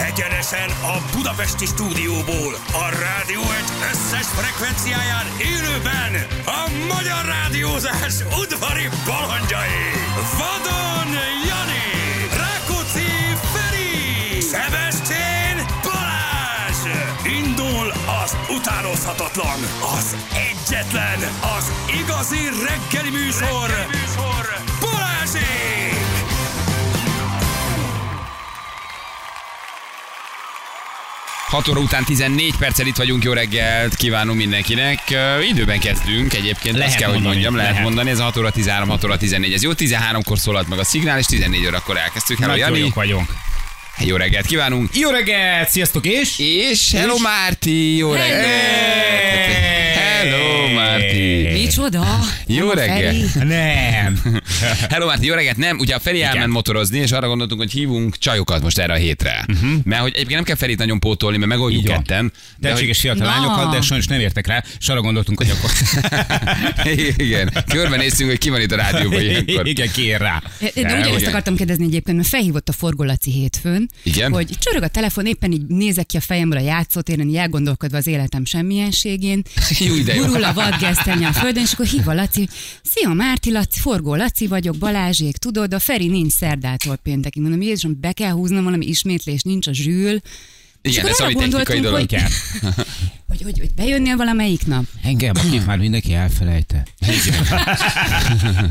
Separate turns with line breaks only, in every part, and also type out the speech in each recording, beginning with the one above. Élősen a Budapesti stúdióból, a rádió egy összes frekvenciáján élőben a magyar rádiózás udvari balandjai. Vadon Jani, Rákóczi Feri, Szebestén Balázs. Indul az utánozhatatlan, az egyetlen, az igazi reggeli műsor, reggeli műsor. Balázsék!
Hat óra után 14 perccel itt vagyunk, jó reggelt kívánunk mindenkinek. Ö, időben kezdünk egyébként, lehet
Lehet
azt kell, hogy
mondani,
mondjam, lehet,
lehet.
mondani, ez a 6 óra 13, 6 óra 14, ez jó, 13-kor szólalt meg a szignál, és 14 órakor elkezdtük. Hello,
Nagyon
Jani,
jók vagyunk.
jó reggelt kívánunk.
Jó reggelt, sziasztok és...
És hello, Márti, jó reggelt. Hello, Márti.
Micsoda?
Jó
Nem a
reggel.
Feri?
Nem.
Hello Márti, jó reggelt! Nem, ugye a Feri elment motorozni, és arra gondoltunk, hogy hívunk csajokat most erre a hétre. Uh-huh. Mert hogy egyébként nem kell Ferit nagyon pótolni, mert megoldjuk
Mhm. Így van.
ketten. De hogy-
Tehetséges fiatal
Na.
lányokat, de sajnos nem értek rá, és arra gondoltunk, hogy akkor...
Igen, körbenéztünk, hogy ki van itt a rádióban ilyenkor.
Igen, kiér rá.
De ugyanezt
ugye.
akartam kérdezni egyébként, mert felhívott a forgolaci hétfőn,
Igen?
hogy csörög a telefon, éppen így nézek ki a fejemre a játszótéren, így elgondolkodva az életem semmienségén,
Jó, de jó.
gurul a vadgesztenye a földön, és akkor hív a Laci, szia Márti, Laci, forgó Laci vagyok, Balázsék, tudod, a Feri nincs szerdától péntekig. Mondom, Jézusom, be kell húznom valami ismétlés, nincs a zsűl. És
Igen,
akkor
ez
arra
ami technikai
gondoltunk,
dolog.
hogy-
Igen.
Hogy, hogy, hogy bejönnél valamelyik nap?
Engem, akit már mindenki elfelejtett.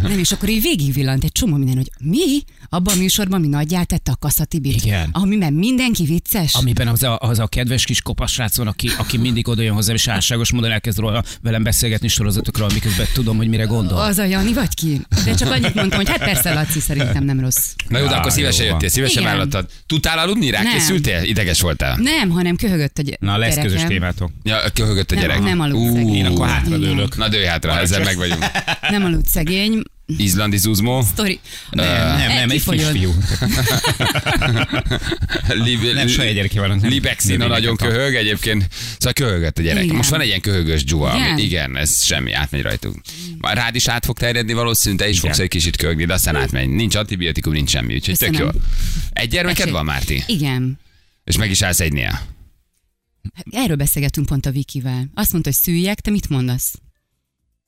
Nem, és akkor így végigvillant egy csomó minden, hogy mi abban a műsorban, mi nagyját tette a kaszatibit.
Igen.
Amiben mindenki vicces.
Amiben az a, az a kedves kis kopasz srác van, aki, aki mindig oda jön hozzám, és álságos módon elkezd róla velem beszélgetni sorozatokról, miközben tudom, hogy mire gondol.
Az a Jani vagy ki? De csak annyit mondtam, hogy hát persze Laci szerintem nem rossz.
Na jó, de
Á,
akkor szívesen
jó van.
jöttél, szívesen
Igen.
vállaltad. Tudtál aludni rá?
Nem.
Készültél? Ideges voltál?
Nem, hanem köhögött a gy-
Na, lesz
gyerekem.
közös témátok.
Ja, köhögött a
Nem,
gyerek.
nem aludt szegény.
Én akkor hátradőlök.
Na dőj hátra, ezzel meg vagyunk.
Nem aludt szegény.
Izlandi zuzmó,
Tori.
Nem, nem, nem, egy
Kifogyott.
kisfiú.
lib,
Nem saját gyerekei vannak. nem-
Libexina
növényeket
nagyon
kap.
köhög egyébként. Szóval köhögött a gyerek.
Igen.
Most van egy ilyen köhögös dzsuva,
Igen.
ami igen, ez semmi, átmegy rajtuk. Már rád is át fog terjedni valószínűleg, te is
Igen.
fogsz egy kicsit köhögni, de aztán átmegy. Nincs antibiotikum, nincs semmi, úgyhogy tök jó.
Köszönöm.
Egy gyermeked
Tessék.
van, Márti?
Igen.
És meg is állsz egynél.
Hát Erről beszélgettünk pont a Vikivel. Azt mondta, hogy szüljek, te mit mondasz?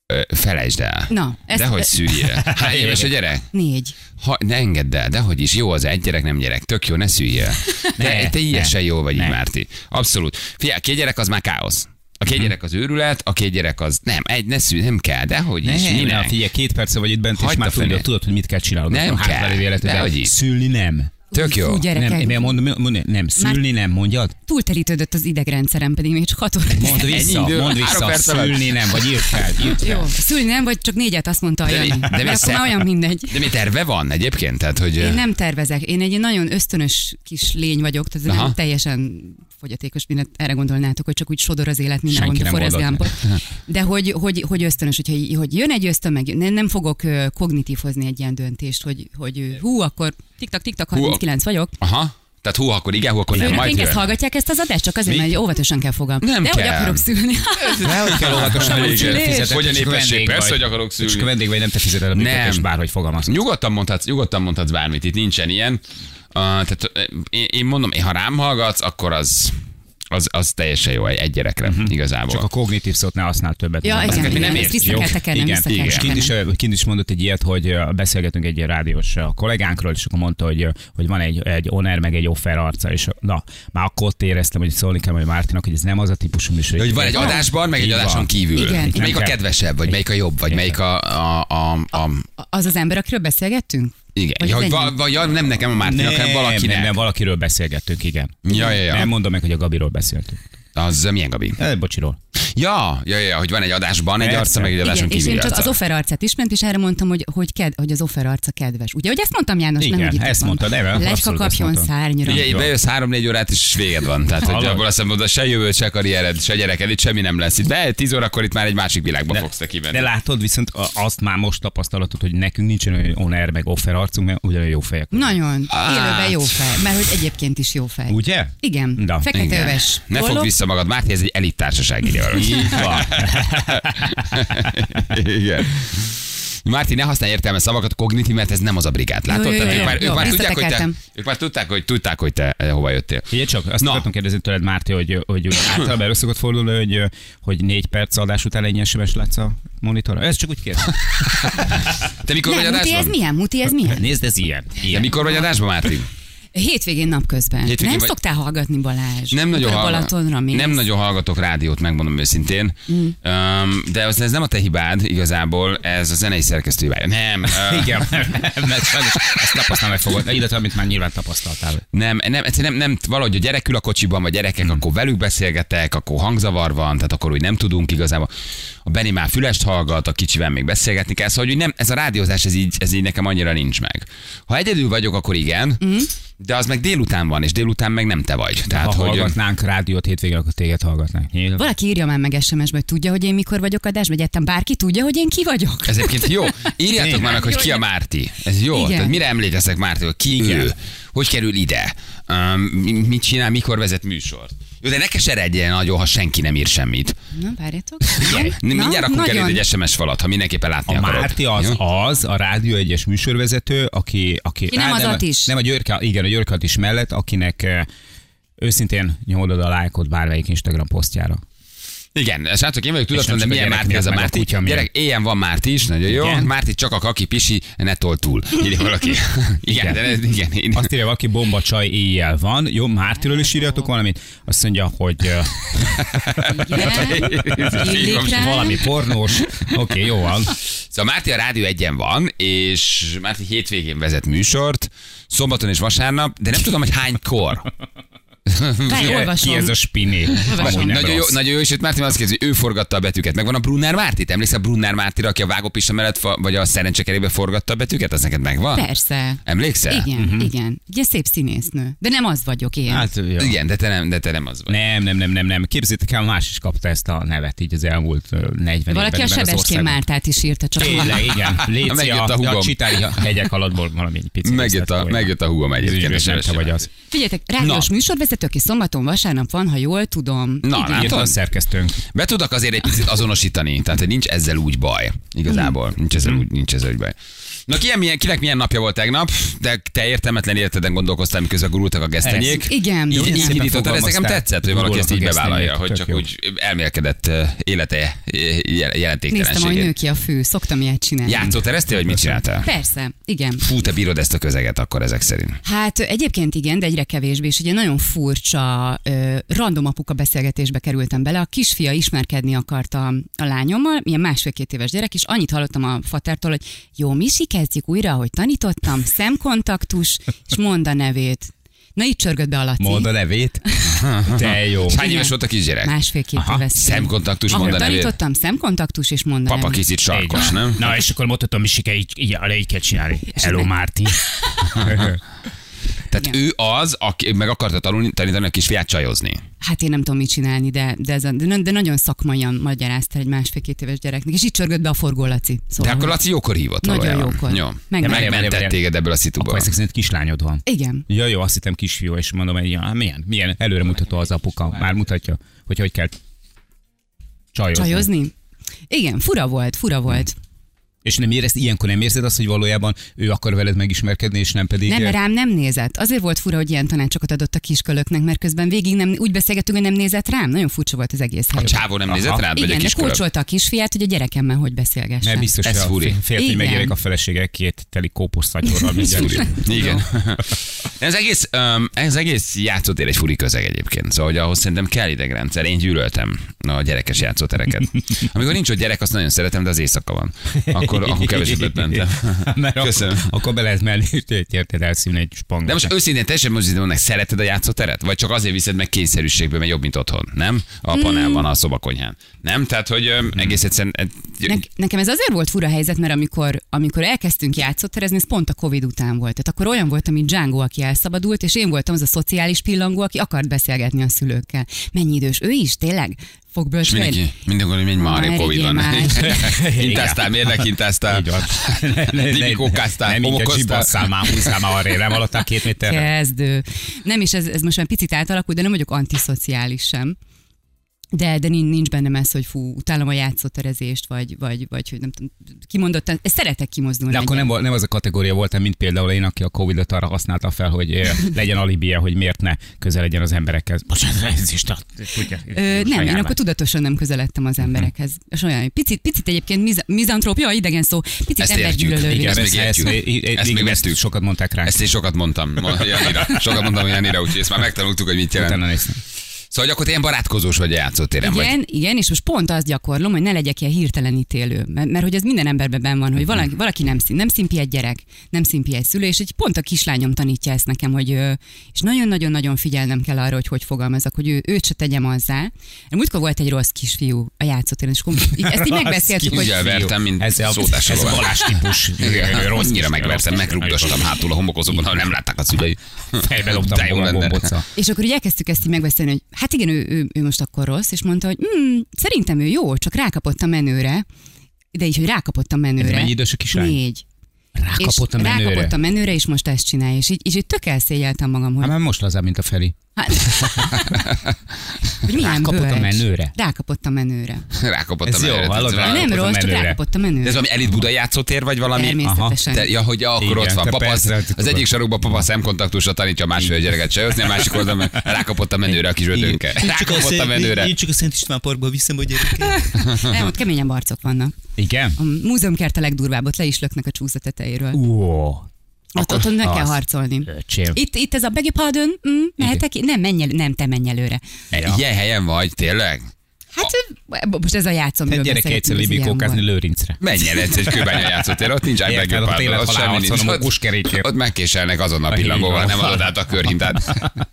Ö, Felejtsd el.
Na, ezt-
Dehogy szüljél. Hány éves a gyerek?
Négy.
Ha, ne engedd el, dehogy is. Jó az egy gyerek, nem gyerek. Tök jó, ne szüljél. Te,
Ne,
te ilyesen
ne,
jó vagy, így,
ne.
Márti. Abszolút. Figyelj, két gyerek az már káosz. A két gyerek az őrület, a két gyerek az nem, egy, ne szülj, nem kell, dehogy is,
Nem,
minek?
nem, figyelj, két perce vagy itt bent, és
Hagyd a
már
fenét.
tudod, tudod, hogy mit kell csinálnod.
Nem
Akkor
kell.
hátralévő életed, de
Dehogy is.
Szülni nem.
Tök jó.
Fú, gyerekek.
Nem, én mondom, mondom, nem, szülni nem, mondjad.
Túlterítődött az idegrendszerem, pedig még csak hat óra.
Mondd vissza,
idő?
mondd
Három
vissza,
perc alatt?
szülni nem, vagy írd fel, írd fel.
Jó, szülni nem, vagy csak négyet azt mondta a
De mi-
Jani.
de mi
De, akkor
szem-
már olyan mindegy.
De mi terve van egyébként? Tehát, hogy...
Én nem tervezek. Én egy nagyon ösztönös kis lény vagyok, tehát ez
Aha.
nem teljesen fogyatékos, mindent erre gondolnátok, hogy csak úgy sodor az élet minden
Senki
mondta
nem
Forrest
oldott
Gumpot. De hogy, hogy, hogy ösztönös, hogyha, hogy jön egy ösztön, meg nem, nem fogok ö, kognitívhozni egy ilyen döntést, hogy, hogy hú, akkor tiktak, tiktak,
Hú,
39 vagyok.
Aha. Tehát hú, akkor igen, hú, akkor nem, majd
Főnökeink ezt
jön.
hallgatják ezt az adást, csak azért,
Mi?
mert óvatosan kell fogam.
Nem
De hogy
kell.
akarok szülni.
Dehogy kell óvatosan,
Szabad
hogy
szülés.
fizetek,
Hogy a
és
népesség,
vendég
persze,
vagy.
hogy akarok
És
szülni.
akkor vendég vagy, nem te fizeted a működést,
Nem.
bárhogy fogalmaz.
Nyugodtan mondhatsz, nyugodtan mondhatsz bármit, itt nincsen ilyen. Uh, tehát ö, én, én mondom, ha rám hallgatsz, akkor az, az, az teljesen jó egy egy gyerekre uh-huh. igazából.
Csak a kognitív szót ne használ többet.
Ja,
Nem,
igen,
nem,
igen,
nem
ezt
értjük.
vissza kell tekernem,
igen,
vissza kell
igen. És kint is, kint is mondott egy ilyet, hogy ö, beszélgetünk egy ilyen rádiós ö, kollégánkról, és akkor mondta, hogy, ö, hogy van egy, egy oner, meg egy offer arca, és na, már akkor ott éreztem, hogy szólni kell majd Mártinak, hogy ez nem az a típusú műsor.
Hogy van egy adásban, meg egy
Így van.
adáson kívül.
Igen.
Melyik a
Igen.
kedvesebb, vagy melyik a jobb, vagy
Igen.
melyik a... a, a, a,
Az az ember, akiről beszélgettünk?
igen,
Vagy
ja, hogy
az
va,
enyém?
va, ja, nem nekem a Mártinak, hanem valakinek.
Nem, nem, valakiről beszélgettünk, igen.
Ja, ja, ja.
Nem mondom meg, hogy a Gabiról beszéltünk.
Az ö, milyen Gabi?
Eh, Bocsiról.
Hát Ja, ja, ja, hogy van egy adásban egy
Persze.
arca, meg egy adáson
Igen, és
kívül
én csak az
arca.
offer arcát ismert, és erre mondtam, hogy, hogy, ked, hogy az offer arca kedves. Ugye, hogy ezt mondtam János, nem
Igen,
úgy itt
ezt
van.
mondtad, nem,
Legyka
abszolút ezt
kapjon
mondtam.
Ugye
szárnyra. Igen,
itt
van.
bejössz három-négy órát, és véged van. Tehát, hogy
Hallod?
abból azt mondod, se jövőd, se karriered, se gyereked, itt semmi nem lesz. Itt be, 10 órakor itt már egy másik világba fogsz te kivenni.
De látod viszont a- azt már most tapasztalatod, hogy nekünk nincsen olyan on-air meg offer arcunk, mert ugyanolyan jó fejek. vagyunk.
Nagyon.
Á.
Élőben jó fej, mert hogy egyébként is jó fej.
Ugye?
Igen,
Na,
Igen.
feketeöves.
Ne fogd
Kollog.
vissza magad, Márti, ez egy elit társaság ide van. Igen. Márti, ne használj értelme szavakat, kognitív, mert ez nem az a brigád. Látod?
Jó, jó,
Tehát
jó,
ők már-
jó.
ők már tudják, hogy te-
Visszatekertem.
Ők már tudták, hogy tudták, hogy te eh, hova jöttél.
Figyelj csak, azt
Na.
akartam kérdezni tőled, Márti, hogy, hogy általában elő szokott fordulni, hogy, hogy négy perc adás után ennyi SMS látsz a monitorra. Ez csak úgy kérdez.
Te mikor vagy
Nem, Muti, ez
adásban?
milyen? Muti, ez milyen?
Nézd, ez ilyen.
Te
ilyen.
mikor vagy adásban, Márti?
Hétvégén napközben.
Hétvégén
nem
vagy-
szoktál hallgatni Balázs?
Nem nagyon,
Mikor a
hallgat-
Balatonra mész?
nem nagyon hallgatok rádiót, megmondom őszintén. Mm. Um, de az, ez nem a te hibád igazából, ez a zenei szerkesztő hibája. Nem. ö,
Igen, mert sajnos ezt tapasztalom, meg fogod. Illetve, amit már nyilván tapasztaltál. Hát
Nem, nem, egyszerűen nem, nem, valahogy a gyerek ül a kocsiban, vagy
Hmm.
gyerekek, akkor velük beszélgetek, akkor hangzavar van, tehát akkor úgy nem tudunk igazából. A Benni már fülest hallgat, a kicsivel még beszélgetni kell, szóval hogy nem, ez a rádiózás, ez így, ez így nekem annyira nincs meg. Ha egyedül vagyok, akkor igen, mm. de az meg délután van, és délután meg nem te vagy. Tehát,
Hmm. Ha
hogy,
hallgatnánk rádiót hétvégén, akkor téged hallgatnánk. Nyilván.
Valaki írja már meg SMS-be, hogy tudja, hogy én mikor vagyok adásban, vagy egyáltalán bárki tudja, hogy én ki vagyok.
Ez egyébként jó. Írjátok
Tényleg.
már meg, hogy ki a Márti. Ez jó.
Igen.
Tehát mire emlékeztek Márti, hogy ki ő? Hogy kerül ide? Um, mi- mit csinál, mikor vezet műsort? Jó, de ne keseredjen nagyon, ha senki nem ír semmit.
Na, várjátok.
Igen.
Na,
Mindjárt akkor
nagyon.
kerül egy SMS falat, ha mindenképpen látni
A
akarod.
Márti az,
Jó?
az a Rádió egyes műsorvezető, aki... aki
Ki nem
Á,
az Atis.
Nem a Györke, igen, a Györke is mellett, akinek eh, őszintén nyomodod a lájkot bármelyik Instagram posztjára.
Igen, srácok, én vagyok tudatlan,
És
de
nem
milyen
csak a
Márti az a
gyereknek, meg a
Márti.
kutya miatt.
Gyerek, éjjel van Márti is, nagyon jó.
Igen.
Márti csak a kaki pisi, ne tol túl. Írja valaki. Igen,
Igen.
de ez- igen. én-
Azt írja valaki, bomba csaj éjjel van. Jó, Mártiről is írjatok valamit. Azt mondja, hogy eh,
Igen. Illik rá.
valami pornós. Oké, okay, jó van.
Szóval Márti a Rádió egyen van, és Márti hétvégén vezet műsort, szombaton és vasárnap, de nem tudom, hogy hánykor.
Várj,
Ki
olvasom.
ez a spini?
Olvasom.
Amúgy nem
Nagyon jó,
rossz.
nagyon jó, és itt Márti azt kérdezi, ő forgatta a betűket. Megvan a Brunner Mártit? Emlékszel Brunner Mártira, aki a vágópista mellett, fa- vagy a szerencsekerébe forgatta a betűket? Az neked megvan?
Persze.
Emlékszel?
Igen, igen. Ugye szép színésznő. De nem az vagyok én.
Mhm. Hát, jó.
Igen, de te nem, de te nem az vagy.
Nem, nem, nem, nem, nem. Képzétek el, más is kapta ezt a nevet így az elmúlt ö, 40
Valaki
évben. ebben
a
az
Sebestén
országban.
Mártát is írta, csak
Tényleg, igen. Léci
Megjött
a,
a
a,
húgom.
a csitári hegyek alatból valami egy picit.
Megjött a, megjött a húgom
Egyébként
egyébként.
nem
a
te
Sebestén
vagy az.
Márti.
Figyeljetek, rádiós
Na.
műsorvezető, aki szombaton, vasárnap van, ha jól tudom.
Na,
Írt
látod?
a szerkesztőnk.
Be tudok azért egy picit azonosítani, tehát hogy nincs ezzel úgy baj. Igazából, nincs
Hmm.
ezzel úgy, nincs ezzel úgy baj. Na, ki, milyen, kinek milyen napja volt tegnap, de te értelmetlen életeden gondolkoztál, miközben gurultak a gesztenyék.
Ez. Igen,
így,
igen.
így
Szépen
indítottad, ez nekem
fogalmaztál.
tetszett, hogy valaki
Gurulnak
ezt
a
így bevállalja,
gesztenyék,
hogy
tök
csak
jó.
úgy elmélkedett ö, élete ö, jel-
Néztem, hogy nő
jelentéktelenségét.
ki a fő, szoktam ilyet csinálni.
Játszótereztél, vagy mit csináltál?
Persze, igen.
Fú, te bírod ezt a közeget akkor ezek szerint.
Hát ö, egyébként igen, de egyre kevésbé, és ugye nagyon furcsa, ö, random apuka beszélgetésbe kerültem bele. A kisfia ismerkedni akarta a lányommal, ilyen másfél-két éves gyerek, és annyit hallottam a fatártól, hogy jó, Misi, kezdjük újra, ahogy tanítottam, szemkontaktus, és mond a nevét. Na itt csörgött be a Laci.
Mondd a nevét. Te jó.
Hány
Igen.
éves volt a kisgyerek?
Másfél-két
Aha,
éves.
szemkontaktus,
Ahogy
mondd a nevét.
tanítottam, szemkontaktus, és mond a
Papa
nevét.
kicsit sarkos, nem?
Na, és akkor mutatom, Misike, így, így, így, így kell csinálni. Hello, Márti.
Tehát
Igen.
ő az, aki meg akarta tanulni, tanítani a kisfiát csajozni.
Hát én nem tudom mit csinálni, de, de, ez a, de, de nagyon szakmaian magyarázta egy másfél-két éves gyereknek, és itt csörgött be a forgó Laci.
De
Szóval,
akkor
hogy-
Laci jókor hívott
Nagyon
valójában.
jókor.
Jó.
Megment.
Megmentett
Várjál, várjál.
téged ebből a szituból.
Akkor ezek szerint kislányod van.
Igen.
Ja, jó, azt hittem kisfiú, és mondom, hogy ja, hát milyen, milyen előremutató az apuka. Már mutatja, hogy hogy kell csajozni.
Csajozni? Igen, fura volt, fura volt.
És nem érez, ilyenkor nem érzed azt, hogy valójában ő akar veled megismerkedni, és nem pedig...
Nem, mert rám nem nézett. Azért volt fura, hogy ilyen tanácsokat adott a kiskölöknek, mert közben végig nem, úgy beszélgettünk, hogy nem nézett rám. Nagyon furcsa volt az egész
A
hely.
csávó nem
Aha.
nézett rád, vagy a
Igen, hát de
kiskora?
kulcsolta a kisfiát, hogy a gyerekemmel hogy beszélgessen.
Mert biztos,
Ez
ez a
furi.
furi. férfi
Igen.
Igen. megérek a feleségek két teli kópos szatyorral. mindjárt.
Igen. ez egész, um, ez egész játszótér egy furi közeg egyébként, szóval hogy ahhoz szerintem kell idegrendszer. Én gyűlöltem a gyerekes játszótereket. Amikor nincs ott gyerek, azt nagyon szeretem, de az éjszaka van. Akkor, akkor kevesebbet mentem.
Mert
Köszönöm.
Köszönöm. Akkor, akkor be lehet menni, és érted elszívni egy spangot.
De most őszintén, teljesen most így mondnak, szereted a játszóteret? Vagy csak azért viszed meg kényszerűségből, mert jobb, mint otthon, nem?
Mm.
A panelban, a szobakonyhán. Nem? Tehát, hogy öm,
Mm.
egész egyszerűen... eh,
Ne- nekem ez azért volt fura helyzet, mert amikor, amikor elkezdtünk játszottterezni, ez pont a Covid után volt. Tehát akkor olyan voltam, mint Django, aki elszabadult, és én voltam az a szociális pillangó, aki akart beszélgetni a szülőkkel. Mennyi idős? Ő is, tényleg? Fog
És
bölcsölni?
mindenki, mindenkor, hogy menj már,
Már
Covid van.
igen,
Kintáztál, miért kintáztál?
Így van. Ne- ne-
Dibi
ne-
kókáztál,
Nem így
homokoztál.
zsibasszál már, húzzál már arra, nem haladtál két méterre.
Kezdő. Nem is, ez, ez most már picit átalakult, de nem vagyok antiszociális sem. de, de nin- nincs bennem ez, hogy fú, utálom a játszóterezést, vagy, vagy, vagy hogy nem tudom, kimondottan, ezt szeretek kimozdulni.
De akkor nem,
egyet.
volt- nem az a kategória voltam, mint például én, aki a Covid-ot arra használta fel, hogy eh, legyen alibia, hogy miért ne közel legyen az emberekhez. Bocsánat, ez is tart. Tudja,
Ö, nem, én
sajnálom. Mhm.
akkor tudatosan nem közeledtem az emberekhez. És olyan, picit, picit egyébként miza- mizantróp, jó, idegen szó, picit
Ezt értjük.
embergyűlölő.
Igen,
vagyok.
ezt még értjük. Ezt még vettük.
Sokat mondták rá.
Ezt én sokat mondtam ma- Janira. Sokat mondtam Janira, úgyhogy ezt már megtanultuk, hogy mit jelent.
Utána néztem.
Szóval hogy akkor te ilyen barátkozós vagy a játszótéren, vagy?
Igen, igen, és most pont azt gyakorlom, hogy ne legyek ilyen hirtelen ítélő, mert, mert hogy ez minden emberben benn van,
Mhm.
hogy valaki, valaki nem, szín, nem szimpi egy gyerek, nem szimpi egy szülő, és egy pont a kislányom tanítja ezt nekem, hogy ö, és nagyon-nagyon-nagyon figyelnem kell arra, hogy hogy fogalmazok, hogy ő, őt se tegyem azzá. Múltkor volt egy rossz kisfiú a játszótéren, és akkor így- ezt így
Rossz
megbeszéltük, hogy
Úgy vertem, mint
Ez a-
szótás
ez a
lován.
Balázs típus.
Igen,
Rossz
annyira
kis-
megvertem,
rossz
megrugdostam hátul a homokozóban, ha nem látták a szülei.
Fejbe loptam
De jó
volna a
lenne.
gombóca.
És akkor így elkezdtük ezt így megbeszélni, hogy hát igen, ő, ő, ő most akkor rossz, és mondta, hogy mm, szerintem ő jó, csak rákapott a menőre. De így, hogy rákapott a menőre.
mennyi idős a kislány?
Négy.
Rákapott a
és
menőre.
Rákapott a menőre, és most ezt csinálja. És így, és így tök elszégyeltem magam,
Hát
hogy,
már most lazább, mint a Feri.
hát, hogy milyen
Rákapott a
bölcs.
menőre?
Rákapott a menőre.
Rákapott a
Ez jó,
menőre,
hallod,
tetszett.
rá-
nem
Rákapott a
rossz, csak
menőre.
rákapott a
De
menőre.
ez valami elit Buda játszótér, vagy valami?
Természetesen.
Te, ja, hogy ja, akkor
Igen,
ott van.
te
Papa,
persze,
az, az
tudod.
egyik sarokban papa szemkontaktusra tanítja a másfél gyereket sajozni, a másik oldalon rákapott a menőre a kis ötönke. Rákapott a menőre.
Én csak a Szent István Parkba viszem a gyerekeket.
Nem, ott keményen barcok vannak.
Igen?
A múzeumkert a legdurvább, ott le is löknek a csúszat tetejéről.
Ó,
Ott, ott, ott meg kell
az.
harcolni.
öcsém.
Itt, itt ez a beg your pardon, mm, mehetek? Nem, menj el, nem, te menj előre.
Ja.
E, Ilyen helyen vagy, tényleg?
Hát ö, most ez a játszom.
Egy gyerek egyszer libikókázni Lőrincre.
Menj el egyszer egy kőbánya játszótér, ott nincs
Érted,
ágybegy
ott élet
ott
halál
semmi
harcon,
nincs.
a
Ott-
kuskerinkért.
Ott megkéselnek azonnal
A
pillangóval,
híringóval.
nem adod át a körhintát.
Ez
Na jó,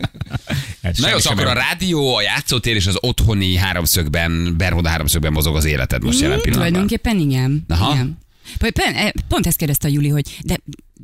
Hát semmi sem
szóval akkor a
nem-
rádió, a játszótér és az otthoni háromszögben, Bermuda háromszögben mozog az életed most
Mm,
jelen pillanatban.
Tulajdonképpen igen.
Aha.
igen. Pont- pont- Pont ezt kérdezte a Juli, hogy de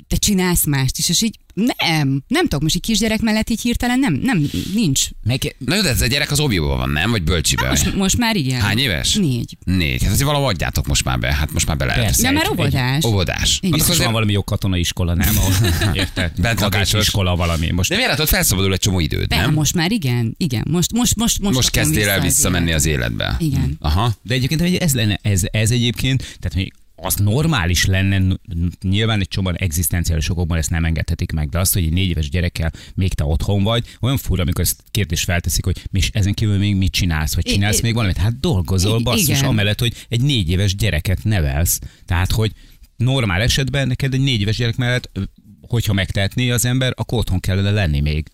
te csinálsz mást is, és így nem, nem tudok, most így kisgyerek mellett így hirtelen nem, nem, nincs.
Meg, na jó, de ez a gyerek az óvióban van, nem? Vagy bölcsiben?
Hát Most, most már igen.
Hány éves?
Négy.
Négy. Hát azért valahogy adjátok most már be, hát most már bele lehet.
Persze.
De
Egy-
már
egy-
óvodás.
Óvodás.
Igen.
Annak
Biztos van
azért-
valami jó katonai iskola, nem? Ahol- Érted?
lakásos.
Katonai iskola valami. Most
De miért hát ott felszabadul egy csomó időd,
Nem?
nem?
Most már igen, igen. Most, most, most, most,
Most
kapom
kezdtél el
vissza az
visszamenni
életet.
az életbe.
Igen.
Aha.
De egyébként hogy ez lenne, ez, ez egyébként, tehát hogy az normális lenne, n- n- nyilván egy csomóan egzisztenciális okokban ezt nem engedhetik meg, de azt, hogy egy négy éves gyerekkel még te otthon vagy, olyan fura, amikor ezt kérdés felteszik, hogy mi is ezen kívül még mit csinálsz, vagy
I-
csinálsz
i-
még valamit. Hát dolgozol,
I-
basszus,
igen.
amellett, hogy egy négy éves gyereket nevelsz. Tehát, hogy normál esetben neked egy négy éves gyerek mellett, ö, hogyha megtehetné az ember, akkor otthon kellene lenni még.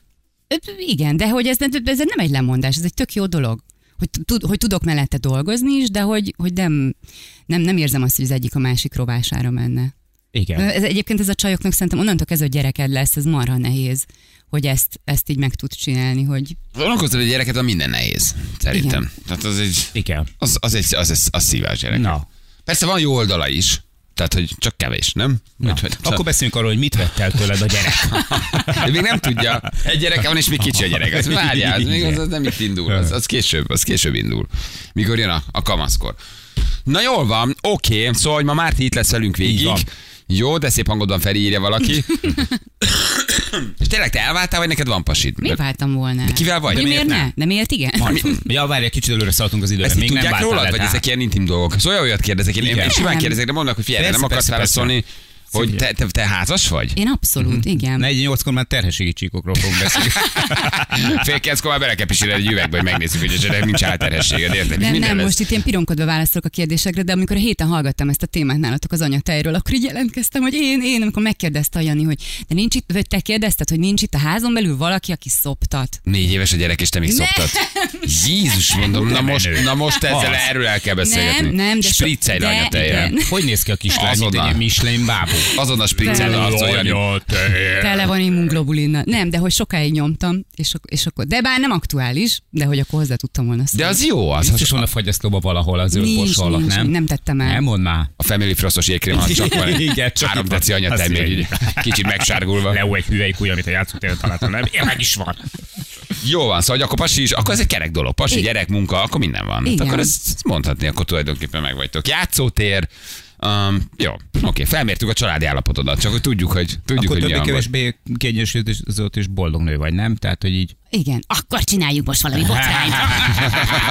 Ö, Igen, de hogy ez, nem- ez nem egy lemondás, ez egy tök jó dolog. Hogy, tud, hogy tudok mellette dolgozni is, de hogy, hogy nem, nem, nem érzem azt, hogy az egyik a másik rovására menne.
Igen.
Ez, egyébként ez a csajoknak szerintem onnantól kezdve, hogy gyereked lesz, ez marha nehéz, hogy ezt, ezt így meg tud csinálni, hogy
Vonalkoztad egy gyereket, a minden nehéz, szerintem.
Igen.
Tehát az egy,
Igen.
az, az egy, az, az, az szívás gyerek.
Na,
Persze van jó oldala is, tehát hogy csak kevés, nem?
na.
Úgyhogy-
akkor beszéljünk arról, hogy mit vett el tőled a gyerek.
Ő még nem tudja. Egy gyereke van, és még kicsi a gyerek. Az várjál, az, még az, az nem itt indul. Az, az, később, az később indul. Mikor jön a, a kamaszkor. Na jól van, oké, szóval hogy ma Márti itt lesz velünk
Így
végig.
van.
Jó, de szép hangodban Feri írja valaki. és tényleg te elváltál, vagy neked van pasid?
mi váltam volna. De
kivel vagy?
De
De
miért,
miért
ne? De miért igen?
Ja, várj, egy kicsit előre szaladtunk az időben.
Ezt
Még
így
nem
tudják
váltál Hát,
rólad,
le,
vagy
tehát.
ezek ilyen intim dolgok? Szóval olyat kérdezek, én, én
Igen.
simán
Nem.
kérdezek, de mondanak, hogy figyelj,
Persze,
nem akarsz
persze, persze.
válaszolni, hogy te,
Szívügyek.
te, te házas vagy?
Én abszolút, igen.
48-kor már terhességi csíkokról fogunk beszélni.
Fél kezdkor már belekepisíted egy üvegbe, hogy megnézzük, hogy esetleg nincs álterhességed, érted?
Nem,
Minden
nem,
lesz.
most itt én pironkodva válaszolok a kérdésekre, de amikor a héten hallgattam ezt a témát nálatok az anyatejről, akkor így jelentkeztem, hogy én, én, amikor megkérdezte a Jani, hogy de nincs itt, vagy te kérdezted, hogy nincs itt a házon belül valaki, aki szoptat.
Négy éves a gyerek, és te még
Nem.
szoptad. Jézus, mondom, na most, na most ezzel
Az.
erről el kell beszélgetni.
Nem, nem, de so-
Spriccelj le
de
anyatejjel.
igen.
Hogy néz ki a kislány, mint
Azonnal.
egy Michelin bábú?
Azonnal spriccelj le
Nem.
arcol, Jani.
Tele van immunglobulinnal. Nem, de hogy sokáig nyomtam, és, ak- és akkor, de bár nem aktuális, de hogy akkor hozzá tudtam volna
De
szólni.
az jó, az
Biztos
has-
van a fagyasztóba valahol az ő
nincs,
borsa alatt,
nincs,
nem?
nem tettem el.
Nem mondd már.
a Family Frostos jégkrém, ha csak van
Igen,
egy
csak
három
itt van.
deci anyatej,
Azt
még
igen.
így kicsit megsárgulva.
Leó egy hüvelykúj, amit a játszótéren találtam, nem? Én meg is van.
Jó van, szóval hogy akkor pasi is, akkor ez egy kerek dolog. Pasi,
Igen.
gyerek, munka, akkor minden van. Hát
Igen.
akkor ezt mondhatni, akkor tulajdonképpen meg vagytok. Játszótér, Um, jó, oké, felmértük a családi állapotodat, csak hogy tudjuk, hogy tudjuk, hogy
Akkor
mi
többé
a hang.
kevésbé kiegyensúlyozott és boldog nő vagy, nem? Tehát, hogy így
Igen, akkor csináljuk most valami botrányt.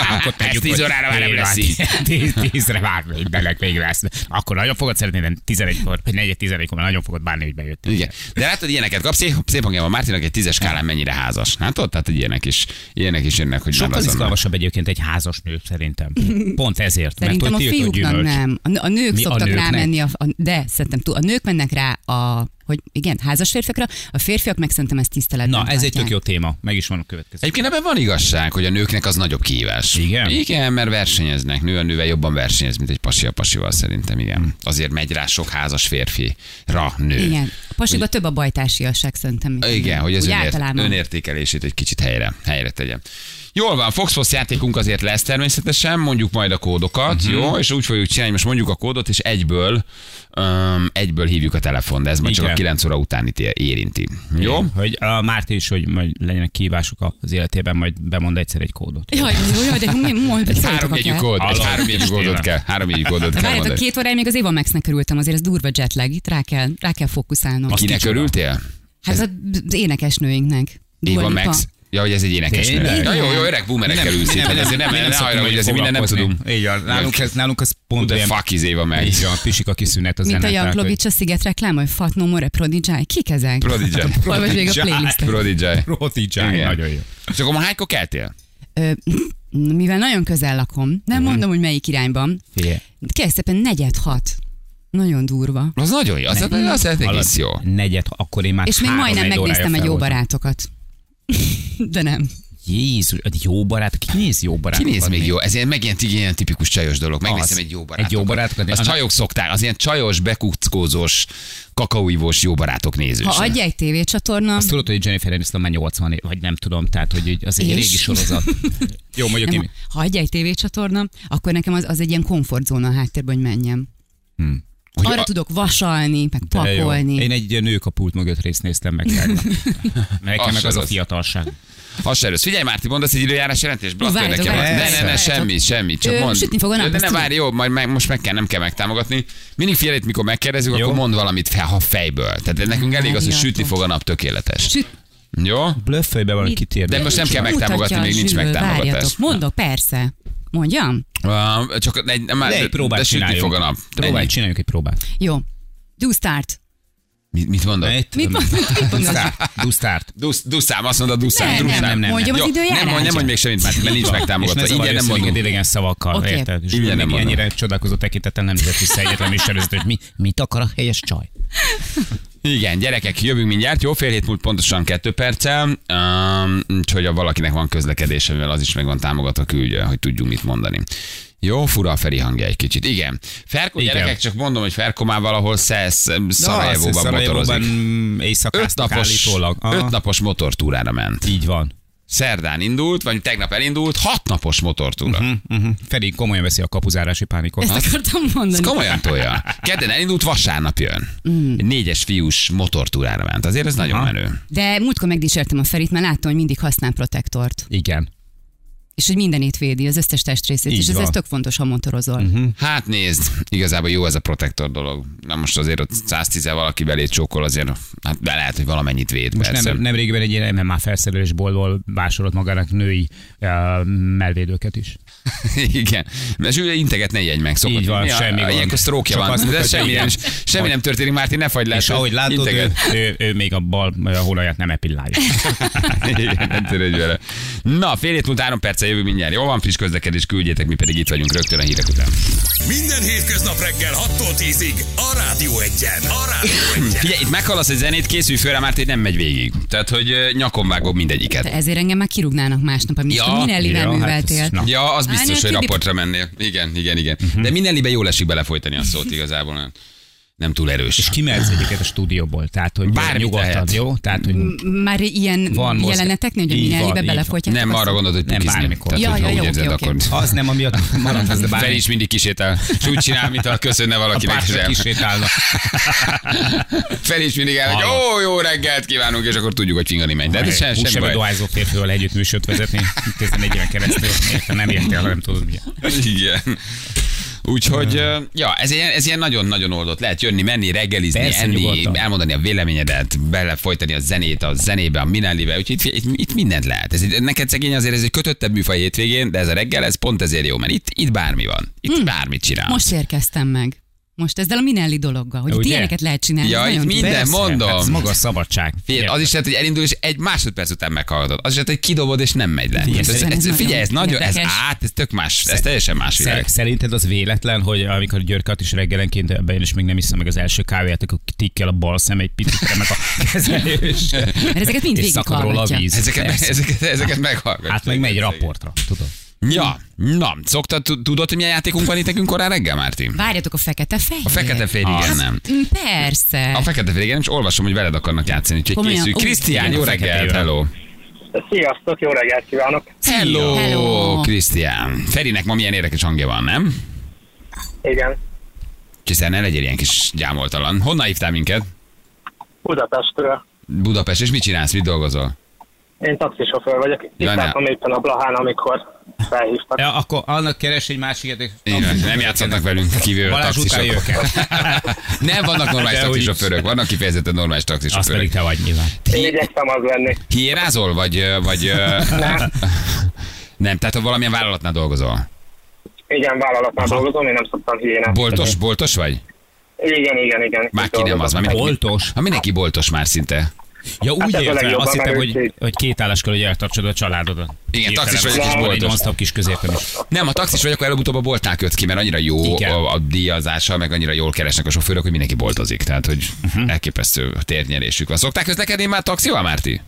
Akkor tegyük,
Ezt tíz
hogy
órára már nem
négy
lesz
van.
így.
Tíz- Tízre már mindenek végre lesz. Akkor nagyon fogod szeretni, de 11-kor, vagy 4-11-kor már nagyon fogod bánni, hogy bejött.
Igen. De látod, ilyeneket kapsz, szép, szép hangja van Mártinak egy tízes skálán mennyire házas. Látod? Tehát hogy ilyenek is, ilyenek is jönnek, hogy
Sokkal
nem lazon.
izgalmasabb egyébként egy házas nő szerintem. Pont ezért.
Szerintem a
mert hogy tiltott
fiúknak
gyümölcs.
nem. A, nő- a nők
Mi, a
Mi, szoktak
nőknek?
rámenni, a, a, de szerintem tú- a nők mennek rá a hogy igen, házas férfiakra, a férfiak meg szerintem ezt tiszteletben
Na, ez egy
tartják.
tök jó téma. Meg is van a következő.
Egyébként ebben van igazság, hogy a nőknek az nagyobb kihívás.
Igen?
Igen, mert versenyeznek. Nő a nővel jobban versenyez, mint egy pasi a pasival szerintem,
Hm.
igen. Azért megy rá sok házas férfira nő.
Igen. A pasiba több a bajtársiasság szerintem. mint a
Igen,
nő.
hogy az
Úgy
önért,
általában.
önértékelését egy kicsit helyre, helyre tegye. Jól van, Fox Fox játékunk azért lesz természetesen, mondjuk majd a kódokat, uh-huh. jó? És úgy fogjuk csinálni, most mondjuk a kódot, és egyből, um, egyből hívjuk a telefon, de ez majd csak a
Igen.
9 óra után itt ér- érinti. Jó?
Hogy a Márti is, hogy majd legyenek kívások az életében, majd bemond egyszer egy kódot.
Jaj, jó, jaj, de mi most
Egy három jegyű kód, egy
Hallom.
három jegyű kódot kell, három jegyű kódot kell
Várjátok,
mondani.
két óráig még az Eva Maxnek örültem, azért ez durva jetlag, itt rá kell, rá kell fókuszálnom.
Azt
Kinek
kicsoda.
örültél?
Hát az énekesnőinknek. Dua
Éva
Lipa.
Max. Ja, hogy ez egy énekesnő.
Tényleg?
Ja, jó, jó, öreg boomerekkel ülsz itt, hát ezért nem, nem,
szoktunk
hajra, hogy
nagyon
ezért minden nem
foglalkozni.
tudom.
Így van, nálunk ez, nálunk ez
Who
pont
the
olyan
fuck is Éva Max?
Így van, pisik a kiszünet az
Mint a
ennek, tehát, hogy-
Jaklovics a sziget reklám, hogy Fat No More, Prodigy, kik ezek?
Prodigy.
Olvasd még a playlistet.
Prodigy.
Prodigy,
Igen.
nagyon jó.
És akkor ma hánykor keltél?
Ö, mivel nagyon közel lakom,
Mhm.
nem mondom, hogy melyik irányban,
Figyelj,
kérlek szépen negyed hat. Nagyon
Hát
durva.
Az nagyon jó, az, az, az egész jó.
negyed, akkor én már
És még
három,
majdnem
négy órája
megnéztem egy
fel
jó
voltam.
barátokat. De nem.
Jézus, egy jó barát, ki néz jó barát?
Ki néz még jó? Ez ilyen, meg ilyen, ilyen tipikus csajos dolog. Megnézem egy jó barátokat.
Egy jó barátokat.
Azt
Annak-
csajok szokták, az ilyen csajos, bekuckózós, kakaóivós jó barátok nézős.
Ha adj egy tévécsatorna,
Azt tudod, hogy Jennifer Aniston már 80 év, vagy nem tudom, tehát hogy így az egy
És?
régi sorozat. Jó, mondjuk
nem,
én...
ha adj egy tévécsatorna, akkor nekem az, az egy ilyen komfortzóna a háttérben, hogy menjem.
Hogy
Arra
a-
tudok vasalni, meg
Hm. de jó.
pakolni.
Én egy nők a pult mögött részt néztem meg. tegnap. Nekem
Az
meg
se
az a
rossz.
fiatalság.
Ha se rossz. Figyelj, Márti, mondasz egy időjárás jelentést, blasz
Várjatok,
nekem. Ne,
várjatok,
ne, ne,
várjatok.
semmi, semmi. Csak
Ö,
mondd.
sütni fog a nap,
De
ezt
ne
tudom.
várj, jó, majd meg, most meg kell, nem kell megtámogatni. Mindig figyelj, itt, mikor megkérdezzük,
Jó.
akkor mond valamit fel, ha fejből. Tehát nekünk elég az, hogy
Várjatok.
sütni fog a nap tökéletes.
Süt-
Jó?
Blöffölybe van
Mit?
kitérve.
De most nem kell megtámogatni,
Mutatja
még
a
nincs
zsűrő,
megtámogatás.
várjatok. Mondok, persze. Mondjam?
Uh, csak egy, nem,
De
de,
egy próbát
de sütni
csináljunk.
fog a nap.
Próbálj,
Ennyi.
csináljunk egy próbát.
Jó. Do start.
Mit, mit mondod?
Mit mondod?
Dusztárt.
Dusz, duszám, azt mondod, duszám.
Nem,
duszám.
nem, nem, nem. Mondjam az
Jó,
időjárás?
Nem, mondj, nem mondj még semmit, mert mert nincs megtámogatva.
És ne
Ingyen
zavarj
nem
össze minket
mondunk.
idegen szavakkal,
Oké.
érted? És
Ingyen nem
nem
mondom.
ennyire csodálkozó tekintetem nem tett vissza egyetlen műsorvezető, hogy mi, mit akar a helyes csaj.
Igen, gyerekek, jövünk mindjárt. Jó, fél hét múlt pontosan kettő perccel. Um, úgyhogy ha valakinek van közlekedése, mivel az is meg van támogatva, küldje, hogy tudjunk mit mondani. Jó, fura a Feri hangja egy kicsit. Igen. Ferko
Igen.
gyerekek, csak mondom, hogy Ferko már valahol szesz, Szarajevóban
Szarajevóban
motorozik. Öt
éjszakáztak
napos,
állítólag. Aha.
öt napos motortúrára ment.
Így van.
Szerdán indult, vagy tegnap elindult, hat napos motortúra. Uh-huh.
Uh-huh. Feri komolyan veszi a kapuzárási pánikot.
Ezt akartam mondani.
Ez komolyan tolja. Kedden elindult, vasárnap jön. Egy négyes fiús motortúrára ment. Azért ez nagyon
Mm. Aha.
menő.
De múltkor megdísértem a Ferit, mert láttam, hogy mindig használ protektort.
Igen.
És hogy mindenét védi, az összes testrészét.
Így
és ez, ez
van.
tök fontos, ha motorozol.
Hm.
Uh-huh.
Hát nézd, igazából jó ez a protektor dolog. Na most azért ott 110 valaki belé csókol, azért hát de lehet, hogy valamennyit véd.
Most
persze.
nem, nemrégben egy ilyen MMA felszerelésboltból vásárolt magának női uh, melvédőket is.
Igen. Mert ő integet ne jegy meg szokott.
Így van,
Ja,
semmi gond.
Ilyenkor sztrókja
Csak azt
van. De
mutatja,
semmi, nem,
igen.
semmi nem történik, Márti, ne fagy le.
És ahogy látod, ő,
integet.
ő, ő, még a bal ö, holaját nem epillálja.
Igen, nem törődj vele. Na, fél hét múlt három perccel jövő mindjárt. Jó van, friss közlekedés, küldjétek, mi pedig itt vagyunk rögtön a hírek után.
Minden hétköznap reggel 6-tól 10-ig a Rádió Egyen. A Rádió Egyen.
Figyelj, itt meghalasz egy zenét, készülj föl, rá, már tényleg nem megy végig. Tehát, hogy ö, nyakon vágom mindegyiket.
Ezért engem már kirúgnának másnap, amit
Ja,
ja, Minellivel
ja, hát
műveltél.
ez- na.
Ja, az biztos,
Árnyal
hogy
Tibi-
raportra mennél. Igen, igen, igen.
Mhm.
De minden libe jól esik belefolytani a szót igazából. nem- Nem túl
És
erős.
kimehetsz egyébként a stúdióból, tehát hogy
Bármit
nyugodtan,
lehet.
jó? Tehát, hogy
Már ilyen
Van
Van
mozgás.
jeleneteknél, hogy a
Így van,
Minellibe
így van.
belefolytják.
Nem, arra gondolod, hogy
Nem,
pukizni.
bármikor.
Tehát,
Ja,
hogyha
ja,
úgy
jó,
érzed,
oké,
akkor...
oké. Hát,
az nem amiatt maradt, az de bármi.
Fel is mindig kisétál, és úgy csinál, mintha köszönne
a
valakinek. és
pártra
el-
kisétálna.
Fel is mindig el, hogy
Hallom.
ó, jó reggelt kívánunk, és akkor tudjuk, hogy fingani megy. De hát ez sem,
Hú,
semmi
sem
baj.
dohányzó férfival együtt műsort vezetni, 11 éven keresztül, miért nem értél, ha nem tudod mi.
Igen. Úgyhogy, ö, ja, ez ilyen, ez ilyen nagyon-nagyon oldott. Lehet jönni, menni, reggelizni,
Persze,
enni,
nyugodtan.
elmondani a véleményedet, belefolytani a zenét a zenébe, a minellibe, úgyhogy itt, itt, itt mindent lehet. Ez, egy- neked szegény azért ez egy kötöttebb műfaj hétvégén, de ez a reggel, ez pont ezért jó, mert itt, itt bármi van. Itt
Hm.
bármit csinál.
Most érkeztem meg. Most ezzel a Minelli dologgal, hogy
Ugye?
Ugye? ilyeneket lehet csinálni.
Ja,
ez
itt
nagyon
minden
durva.
ma- Mondom.
Hát ez maga a szabadság.
Figyelj, az is lehet, hogy elindul, és egy másodperc után meghallgatod. Az is lehet, hogy kidobod, és nem megy le. Ez, ez,
szerintem ez
ez,
nagyon
figyelj, ez nagyon, ez
érdekes.
át, ez tök más, ez teljesen más világ.
Szer- Szerinted az véletlen, hogy amikor Györkat is reggelenként ebben én is még nem iszom meg az első kávéját, akkor tikkel a bal szem egy picit remek a kezelés.
Mert ezeket mind
és szakad róla a
végighallgatja.
víz.
Ezeket,
Persze.
ezeket, ezeket meghallgatod.
Hát meg megy raportra, tudod.
Ja, na, szoktad, tu- tudod, hogy milyen játékunk van itt nekünk korán reggel, Márti?
Várjatok a fekete fehér.
A fekete fér, igen, nem.
Persze.
A fekete fél, igen, és olvasom, hogy veled akarnak játszani, úgyhogy
Komolyan?
készülj.
Ú,
Krisztián,
igen,
jó
a fekete
reggelt,
férjel.
hello.
Sziasztok, jó reggelt kívánok!
Hello,
Hello.
Krisztián. Ferinek ma milyen érdekes hangja van, nem?
Igen,
Csiszer, ne legyél ilyen kis gyámoltalan. Honnan hívtál minket?
Budapestről.
Budapest, és mit csinálsz, mit dolgozol?
Én taxisofőr vagyok. Itt
Jaj, ne.
álltam éppen a Blahán, amikor felhívtak.
Ja, akkor annak keres egy másiket.
Igen, nem játszhatnak velünk kívül a
Balázs után
taxisok.
jövök el.
Nem vannak normális
De hogy-
taxisofőrök, vannak kifejezetten normális
Azt
taxisofőrök.
pedig te vagy nyilván.
Én igyekszem az lenni.
Hiérázol, vagy... ö, vagy ö, nem, tehát ha valamilyen vállalatnál dolgozol.
Igen, vállalatnál dolgozom, én nem szoktam hiénát.
Boltos, boltos vagy?
Igen, igen, igen.
Már
Itt
ki nem az,
dolgozom.
már mindenki,
Boltos?
Ha mindenki boltos már szinte.
Ja, úgy
ez a
értem,
legjobb,
azt hittem,
mert
hogy,
így-
hogy két állás kell, hogy eltartsod a családodat.
Igen, taxis vagyok,
és
boltos. Egy
boltos.
non-stop kis középen is.
Nem, a taxis vagyok, akkor előbb-utóbb a boltnál köt ki, mert annyira jó
Igen.
a, a díjazással, meg annyira jól keresnek a sofőrök, hogy mindenki boltozik. Tehát, hogy
Mhm.
elképesztő térnyerésük van. Szokták közlekedni már taxival, Márti?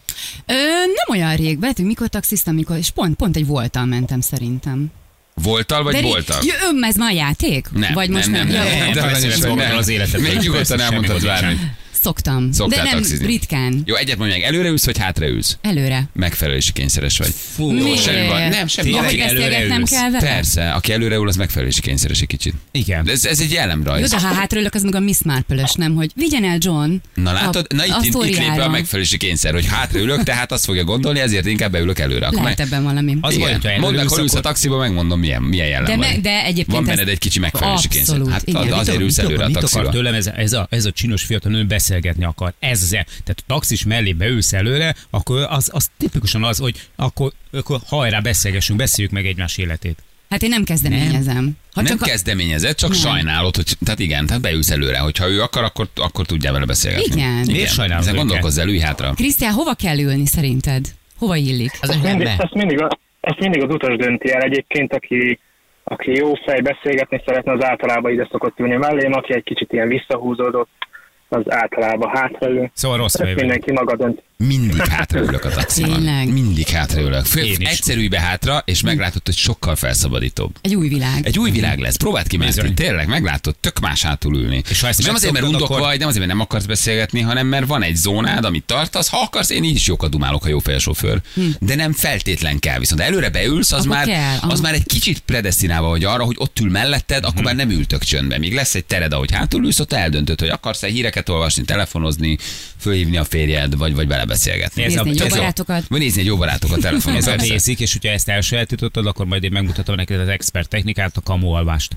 Ö, nem olyan rég, bet, mikor taxiztam, mikor, és pont, pont egy voltal mentem szerintem.
Voltal vagy
ré-
boltal?
Jö, öm, ez már játék?
Nem,
Vagy most
nem, nem,
Ja,
nem,
jó.
nem, de
Nem,
nagyon
nem,
sok
nem.
nem.
az életed
Még
persze,
nyugodtan
semmi
elmondhatod
gond
bármit.
Szoktam.
Szoktál
de nem
taxizni?
ritkán.
Jó, egyet mondj meg, előre ülsz, vagy hátra ülsz?
Előre.
Megfelelési kényszeres vagy.
Fú,
Mi?
semmi baj. Nem, semmi
Ja,
baj.
hogy
Tényleg
beszélgetnem
előre
kell vele?
Persze, aki előre ül, az megfelelési kényszeres egy kicsit.
Igen.
De ez, ez egy
Jó,
jellemrajz.
de ha hátraülök, az meg a Miss Marple-ös, nem? Hogy vigyen el John.
Na látod,
a,
na itt,
a
itt, itt lép be a
sztoriára.
megfelelési kényszer, hogy hátra ülök, tehát azt fogja gondolni, ezért inkább beülök előre. Akkor
Lehet
meg...
ebben valami.
Az
Igen.
baj, hogyha
Mondd meg,
előülsz,
hol ülsz a
akkor-
taxiba, megmondom, milyen, milyen jellem
De,
van.
me, de egyébként
van
ez-
benned egy kicsi megfelelési kényszer.
Abszolút,
Hát
igen.
az, azért
Mit
ülsz
akar-
előre a
mit akar
taxiba.
tőlem ez, ez, a, ez a csinos fiatal nő beszélgetni akar. Ez, e- tehát a taxis mellé beülsz előre, akkor az, az tipikusan az, hogy akkor, akkor hajrá beszélgessünk, beszéljük meg egymás életét.
Hát én nem kezdeményezem. Ha
nem
csak a-
kezdeményezett, csak
Nem.
sajnálod, hogy, tehát igen, tehát beülsz előre, hogyha ő akar, akkor, akkor tudjál vele beszélgetni.
Igen.
Miért sajnálod
Ezen
őket?
gondolkozz el, ülj hátra.
Krisztián, hova kell ülni szerinted? Hova illik? Az
Mindig, ezt, mindig, a- ezt mindig az utas dönti el egyébként, aki, aki jó fej beszélgetni szeretne, az általában ide szokott ülni mellém, aki egy kicsit ilyen visszahúzódott, az általában hátraül.
Szóval rossz
Ezt
vagy.
mindenki maga dönt.
Mindig hátraülök a taxiban.
Tényleg?
Mindig hátraülök. Fő,
Én is.
egyszer ülj be hátra, és meglátod, hogy sokkal felszabadítóbb.
Egy új világ. Hát
Egy új világ lesz. Próbáld ki, Márti,
Bizony.
tényleg meglátod, tök más hátul ülni.
És ha ezt
nem azért, mert
megszoktad,
undok
akkor-
vagy, nem azért, mert nem akarsz beszélgetni, hanem mert van egy zónád, amit tartasz. Ha akarsz, én így is jókat dumálok, ha jó felsofőr. Hm. De nem feltétlen kell. Viszont ha előre beülsz, az,
Akkor
már,
kell, aha. Hm.
az már egy kicsit predestinálva vagy arra, hogy ott ül melletted, akkor már nem ültök csöndben. Még lesz egy tered, ahogy hátul ülsz, ott eldöntöd, hogy akarsz-e híreket olvasni, telefonozni, fölhívni a férjed, vagy, vagy vele beszélgetni.
Ez
Nézni
a-
egy jó
ez a-
barátokat.
Vagy nézni egy jó barátokat telefonon.
Ez a
persze.
basic, és hogyha ezt elsajátítottad, akkor majd én megmutatom neked az expert technikát, a kamualvást.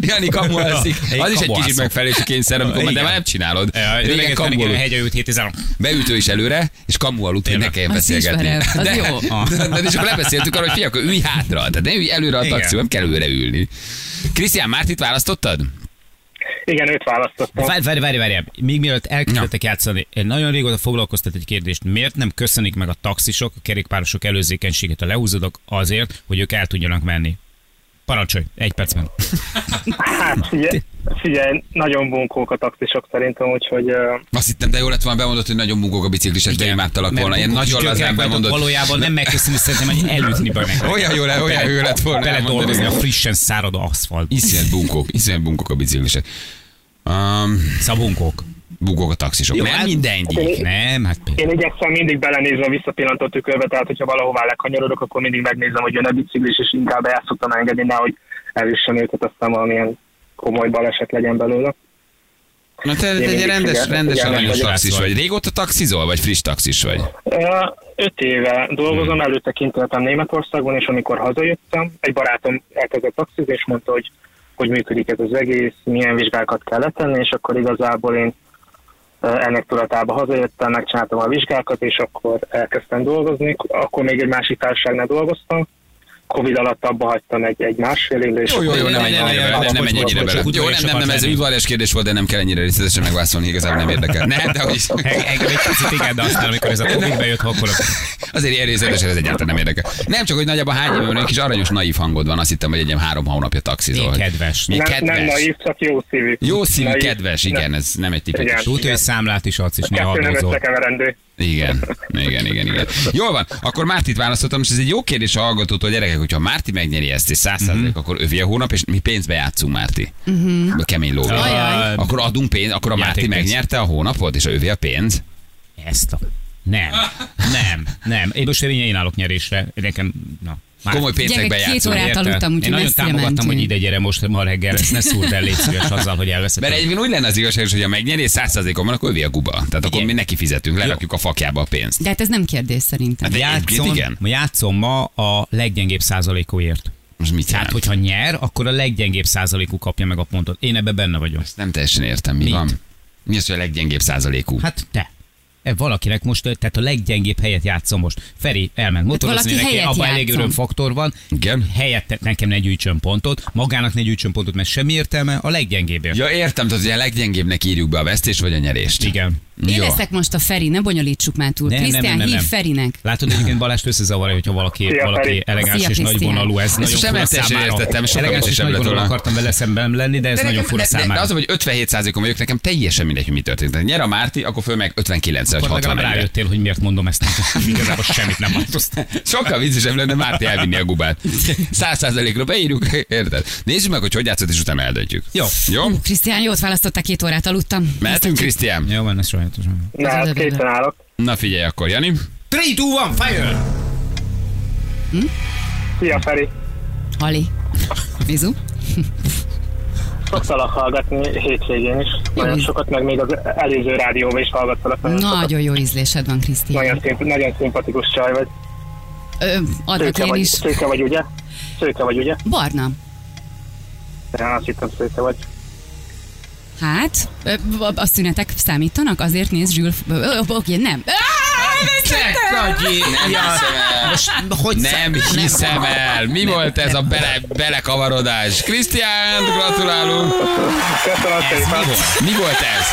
Jani kamuászik.
Én
Az is egy kicsit
kamuászok.
megfelelési kényszer, amikor már de
Igen.
már nem csinálod. Régen
Régen
kamuol.
kamual. Hegy a jövőt hét, ez a-
Beütő is előre, és kamu aludt, hogy ne kelljen
Azt
beszélgetni.
ismerem, az
de,
jó.
De, de, és akkor lebeszéltük arra, hogy fiak, ülj hátra. Tehát ne ülj előre a
Igen.
taxiba, nem kell előre ülni. Krisztián, Mártit választottad?
Igen, őt választottam.
Várj, várj, várj, várj. Még mielőtt elkezdtek játszani, én nagyon régóta foglalkoztat egy kérdést. Miért nem köszönik meg a taxisok, a kerékpárosok előzékenységét a lehúzódok azért, hogy ők el tudjanak menni? Parancsolj, egy percben.
Hát figyelj, figyelj, nagyon bunkók a taxisok szerintem, úgyhogy ö,
Azt hittem, de jó lett volna bemondott, hogy nagyon bugók a biciklisek, de imádtalak volna. Ilyen nagyon lazán bemondott.
Valójában nem megköszönni, szerintem, hogy elütni be neked.
Olyan jó, le, olyan jó lett volna.
Beledolgozni
elmondani.
a frissen szárad aszfalt.
Iszonyat bunkók, iszonyat bunkók a biciklisek. Um,
Szabunkok.
bugók a taxisok.
Jó,
nem
hát-
mindegyik.
Nem, hát
én igyekszem mindig belenézni a visszapillantó tükörbe, tehát hogyha valahová lekanyarodok, akkor mindig megnézem, hogy jön a biciklis, és inkább el szoktam engedni, nehogy elüssön őket, aztán valamilyen komoly baleset legyen belőle.
Na te, te
Én
egy
mindig
rendes,
figyel-
rendes
figyelmes
aranyos
vagyok.
taxis vagy. Régóta taxizol, vagy friss taxis vagy?
Ö, Öt éve
Hmm.
dolgozom, előtte kint éltem Németországban, és amikor hazajöttem, egy barátom elkezdett taxizni, és mondta, hogy hogy működik ez az egész, milyen vizsgákat kell letenni, és akkor igazából én ö, ennek tudatába hazajöttem, megcsináltam a vizsgákat, és akkor elkezdtem dolgozni. Akkor még egy másik társaságnál dolgoztam, Covid alatt abba hagytam egy, egy másfél évre, és
Jó, jó, jó, nem menj ennyire bele, nem, nem menj ennyire bele. Jó, nem, nem, nem, ez udvarjas kérdés volt, de nem kell ennyire részletesen megválaszolni, igazából nem érdekel. Nem, de hogy
Engem egy picit igen, de aztán, amikor ez a Covid bejött, akkor
azért ilyen részletesen ez egyáltalán nem érdekel. Nem csak, hogy nagyjából hány éve van, egy kis aranyos naív hangod van, azt hittem, hogy egy ilyen három hónapja taxizol.
én
hogy-
kedves.
Mi
nem, nem
kedves.
naív, csak jó szívű.
Jó szívű,
Naív.
kedves, igen, ez nem egy tipikus.
Igen.
Úgy, hogy számlát is adsz, és ne
Kettő nem
adózol.
összekeverendő.
Igen, igen, igen, igen. Jól van, akkor Mártit választottam, és ez egy jó kérdés a hallgatótól, gyerekek, hogyha Márti megnyeri ezt, és száz
Mhm.
százalék, akkor övé a hónap, és mi pénzbe játszunk, Márti. Uh-huh. A kemény lóvé.
Ajaj.
Akkor adunk pénzt, akkor a Márti
Játékpénz.
megnyerte a hónapot, és övé a pénz.
Ezt a... Nem, nem, nem. Én most én én állok nyerésre. Nekem, na. Már
Komoly pénzekbe
Gyerekek, két
játszunk.
órát
Érted?
aludtam, úgyhogy
Én nagyon
messzire
támogattam,
mentünk.
hogy ide gyere most ma reggel, ezt ne szúrd el, légy szíves azzal, hogy elveszed.
Mert egyébként úgy lenne az igazság, hogy ha megnyeri, és száz százalékon van, akkor övé a guba. Tehát akkor
Igen.
mi neki fizetünk, lerakjuk a fakjába a pénzt.
De hát ez nem kérdés
Hát
szerintem.
de-
játszom,
egyébként igen.
ma játszom ma a leggyengébb százalékóért.
Most mit
Tehát,
jelent?
Hát, hogyha nyer, akkor a leggyengébb százalékú kapja meg a pontot. Én ebbe benne vagyok.
Nem teljesen értem, mi
Mit?
van. Mi az, hogy a leggyengébb százalékú?
Hát te. E, Valakinek most, tehát a leggyengébb helyet játszom most. Feri elment motorozni,
valaki
neki
helyet
abban elég
játszom.
örömfaktor van.
Igen.
Helyette nekem ne gyűjtsön pontot, magának ne gyűjtsön pontot, mert semmi értelme, a leggyengébbért.
Ja, értem, tehát hogy a leggyengébbnek írjuk be a vesztést vagy a nyerést.
Igen.
Én
Jó.
leszek most a Feri, ne bonyolítsuk már túl.
Nem, nem, nem,
Krisztián,
nem,
hív
nem.
Ferinek.
Látod, egyébként Balást összezavarja, hogyha valaki,
Szia,
valaki
Feri.
elegáns
Szia,
és
Krisztián.
nagyvonalú, ez nagyon
sem
fura
teljesen
számára.
értettem, sokkal
elegáns
sem
és
lett
nagyvonalú
volna.
akartam vele szemben lenni, de ez
De
nagyon
nekem-
fura
de- de-
számára.
De az, hogy 57%-on vagyok, nekem teljesen mindegy, hogy mi történt. Tehát nyer a Márti, akkor föl meg 59 vagy
Akkor legalább
61
rájöttél, hogy miért mondom ezt. Igazából semmit nem változtat.
Sokkal viccesebb lenne Márti elvinni a gubát. 100%-ra beírjuk, érted? Nézzük meg, hogy hogy játszott, és utána eldöntjük.
Jó.
Jó?
Ú, Krisztián, jót választották, két órát aludtam.
Mehetünk, Krisztián?
Jó, van, ez sajátos.
Na,
Ez
hát
az övé.
készen állok.
Na figyelj akkor, Jani.
3, 2, 1, fire!
Szia, Feri.
Hali. Mizu?
Szoktalak hallgatni hétvégén is. Nagyon
Jó.
sokat, meg még az előző rádióban is hallgattalak. Nagyon, sokat.
Nagyon jó ízlésed van, Krisztián.
nagyon, szimp- nagyon szimpatikus csaj vagy.
Ö, Adok
Szőke
hát én
vagy,
is.
szőke vagy, ugye? Szőke vagy, ugye?
Barna.
Én azt hittem szőke vagy.
Hát, ö, a szünetek számítanak, azért néz Zsül... ö, ö, Oké, nem. Á,
Nem hiszem el.
Hogy
Nem hiszem el. Mi volt ez a bele, belekavarodás? Krisztián, gratulálunk.
Köszönöm szépen.
Mi volt ez?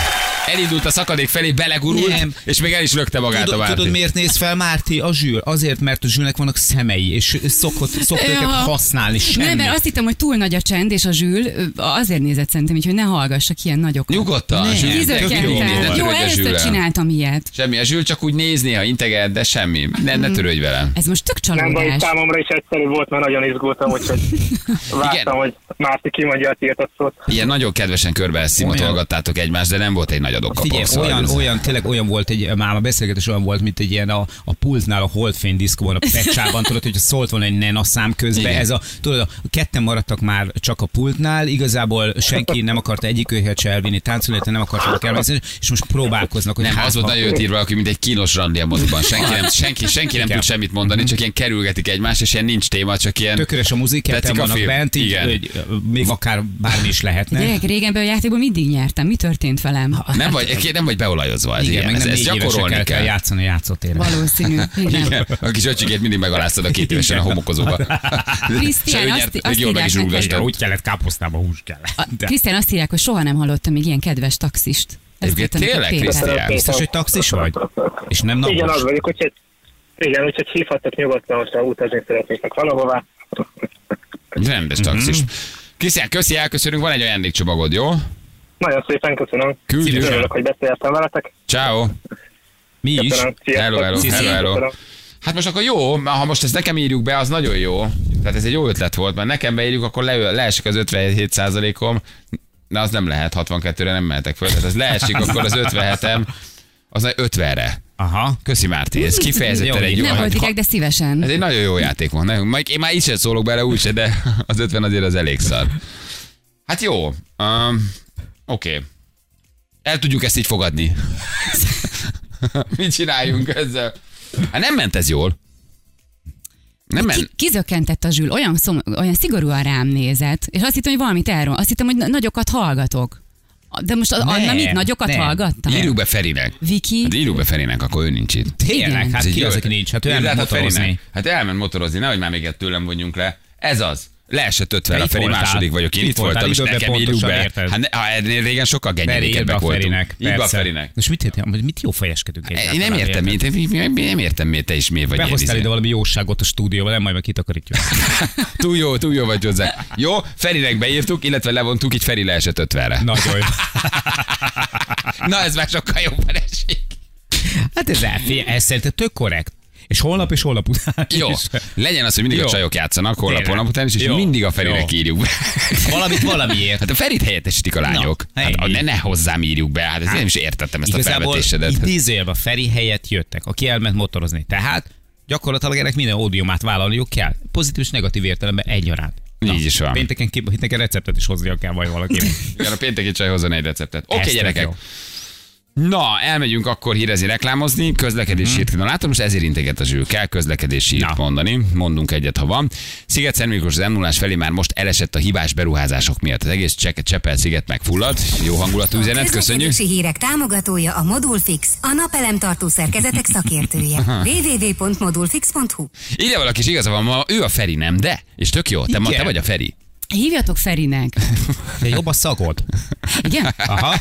Elindult a szakadék felé, belegurult,
Nem.
és még el is lökte magát a
Tudod,
Márti.
tudod, miért néz fel Márti a zsűl? Azért, mert a zsűlnek vannak szemei, és szokott, szokott
Ja.
őket használni
Nem,
semmit.
mert azt hittem, hogy túl nagy a csend, és a zsűl ö, azért nézett szerintem, így, hogy ne hallgassak ilyen nagyokat.
Nyugodtan. Zsül, tök
Tizökentem.
jó, nézd, ne
Jó,
törődj a
először
Zsüllel.
csináltam ilyet.
Semmi, a Zsül csak úgy nézni, ha integet, de semmi. Ne,
Mm-hmm.
ne törődj velem.
Ez most tök
Nem baj,
csalódás.
számomra is egyszerű volt, mert nagyon izgultam, úgyhogy
Igen.
vártam, hogy Márti kimondja a tiltott szót.
Ilyen nagyon kedvesen körbe szimatolgattátok egymást, de nem volt egy nagy adókapó.
Figyelj, olyan, olyan, tényleg olyan volt, egy, már a beszélgetés olyan volt, mint egy ilyen a, a pultnál a holdfény diszkóban, a pecsában, tudod, hogy szólt volna egy nena szám közben.
Igen.
Ez a, tudod, a ketten maradtak már csak a pultnál, igazából senki nem akarta egyik őket se elvinni, táncolni, nem akartak elvenni, és most próbálkoznak, hogy
Nem,
hát,
az volt
ha-
nagyon jött írva, aki mint egy kínos randi a moziban. Senki nem, senki, senki nem
Igen. Mhm.
tud semmit mondani, csak ilyen kerülgetik egymást, és ilyen nincs téma, csak ilyen...
Tökéletes a muzik, ketten
Tetszik a
vannak
film?
bent, így,
Igen.
Hogy, ö, még akár bármi is lehetne.
Gyerek, régenben a játékban mindig nyertem. Mi történt velem?
Nem vagy, nem vagy beolajozva, ez
Igen,
Hát igen,
meg
ez,
nem
ez
négy évesen
gyakorolni
kell,
kell.
kell játszani a játszótéren.
Valószínű. Igen.
Igen, a kis öcsikét mindig megaláztad a két évesen a homokozóba.
Krisztián,
Se ő
azt-
nyert, még
azt
jól meg
írják
is
neked.
rúgastad.
Igen, úgy kellett káposztába hús kell.
A-
De
Krisztián azt írják, hogy soha nem hallottam még ilyen kedves taxist. Ezt
Egyébként
írta neked
tényleg,
Péter.
Krisztián?
biztos, hogy taxis vagy? És nem napos?
Igen, az vagyok, úgyhogy igen, úgyhogy hívhattak nyugodtan, hogyha utazni szeretnétek valahová.
Rendes
Mhm.
taxis. Krisztián, köszi, elköszönünk, van egy ajándékcsomagod, jó?
Nagyon szépen köszönöm.
Küldjük.
Örülök, hogy beszéltem veletek.
Ciao.
Mi is?
Köszönöm. Sziasztok.
Hello, hello,
Sziasztok.
hello, hello. Hát most akkor jó, mert ha most ezt nekem írjuk be, az nagyon jó. Tehát ez egy jó ötlet volt, mert nekem beírjuk, akkor le, leesik az 57 om de az nem lehet, 62-re nem mehetek föl, tehát ez leesik, akkor az 57-em, az 50-re.
Aha.
Köszi Márti, ez kifejezetten
Jó,
egy jó.
Nem volt direkt, de szívesen.
Ez egy nagyon jó játék volt. Nem? Majd én már így sem szólok bele, úgyse, de az 50 azért az elég szar. Hát jó. Um, Oké. Okay. El tudjuk ezt így fogadni. Mit csináljunk ezzel? Hát nem ment ez jól. Nem
Ki,
ment.
kizökkentett a zsül, olyan, szom, olyan szigorúan rám nézett, és azt hittem, hogy valamit elron. Azt hittem, hogy na- nagyokat hallgatok. De most ne, Anna mit nagyokat
nem.
hallgattam?
Írjuk be Ferinek.
Viki,
Hát írjuk be Ferinek, akkor ő nincs itt.
Tényleg,
Igen.
hát
Ez egy
ki
jó
az, aki
ötlet.
nincs? Hát ő
Írd
elment
át a
motorozni.
Ferinek. Hát elment motorozni, nehogy már még egy tőlem vonjunk le. Ez az. Leesett 50
De
a
itt
Feri
voltál.
második vagyok, én
Itt
itt voltam,
voltál,
és
időben
nekem írjuk
pontosan
be.
érted.
Hát ne- ha ennél régen sokkal
Feri,
genyedékebbek
a
voltunk.
Ferinek.
Írd be a
persze.
Ferinek.
Most mit, értem, hogy mit jófejeskedünk
Én nem értem, miért, mi- mi- mi- nem értem, miért te is miért vagy ilyen
Behoztál
izé.
ide valami jóságot a stúdióba, nem majd meg kitakarítjuk.
Túl jó, túl jó vagy hozzá. Jó, Ferinek beírtuk, illetve levontuk, így Feri leesett 50-re. Na,
Nagyon jó.
Na ez már sokkal jobb vereség.
Hát ez, el- figyelj, ez szerintem tök korrekt. És holnap és holnap után
Jó,
is.
legyen az, hogy mindig a
Jó.
csajok játszanak, holnap,
Tényleg.
holnap után is, és
Jó.
mindig a Ferire
Jó.
írjuk be.
Valamit valamiért.
Hát a Ferit helyettesítik a lányok.
Na,
hát,
ennyi.
ne, ne hozzám írjuk be, hát, hát nem is értettem ezt a Hát,
Igazából
felvetésedet.
idézőjelben Feri helyett jöttek, aki elment motorozni. Tehát gyakorlatilag ennek minden ódiumát vállalniuk kell. Pozitív és negatív értelemben egyaránt.
Így is van.
Pénteken, ki, pénteken receptet is hoznia kell majd valakinek.
Igen, a pénteki csaj hozzon egy receptet. Oké,
Ez
okay,
tök
gyerekek.
jó.
Na, elmegyünk akkor hírezni, reklámozni, közlekedési hírt. Na látom, most ezért integet a zsűl. Kell közlekedési hírt
Mhm. Na.
mondani. Mondunk egyet, ha van. sziget Miklós az m felé már most elesett a hibás beruházások miatt. Az egész Cse- Csepel-sziget megfulladt. Jó hangulatú üzenet, köszönjük.
Közlekedési hírek támogatója a Modulfix, a napelemtartó szerkezetek szakértője. www.modulfix.hu
Ide valaki is igaza van, ma ő a Feri, nem? De, és tök jó, te, ma,
Igen.
te vagy a Feri.
hívjatok Ferinek.
De jobb a szagod.
Igen?
Aha.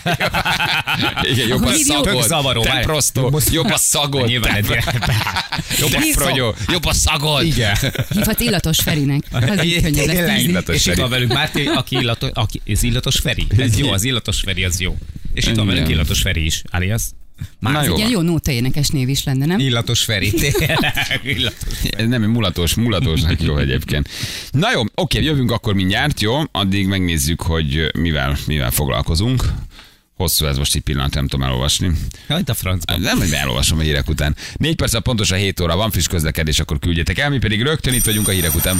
Igen, jobb a
Hívjuk.
szagod.
Tök zavaró,
Te
várj.
prostó. Jobb a szagod.
Nyilván
Te-
egy ilyen.
Jobb a
Hívjuk.
frogyó. Jobb a szagod.
Igen.
Hívhatsz illatos Ferinek. Az így könnyebb lesz
Tényleg.
tízni.
Illatos
És itt
Feri.
van velünk Márti, aki illatos, aki, az illatos Feri. Ez jó, az illatos Feri, az jó. És itt van velünk
Igen.
illatos Feri is, alias.
Na jó.
Ilyen jó nóta énekes név is lenne, nem?
Illatos Feri, tényleg. Illatos.
Ez nem, mulatos, mulatosnak jó egyébként. Na jó, oké, jövünk akkor mindjárt, jó? Addig megnézzük, hogy mivel, mivel foglalkozunk. Hosszú ez most egy pillanat, nem tudom elolvasni.
Hagyd a francba.
Nem, hogy elolvasom a hírek után. Négy perc, pontosan 7 óra van friss közlekedés, akkor küldjetek el, mi pedig rögtön itt vagyunk a hírek után.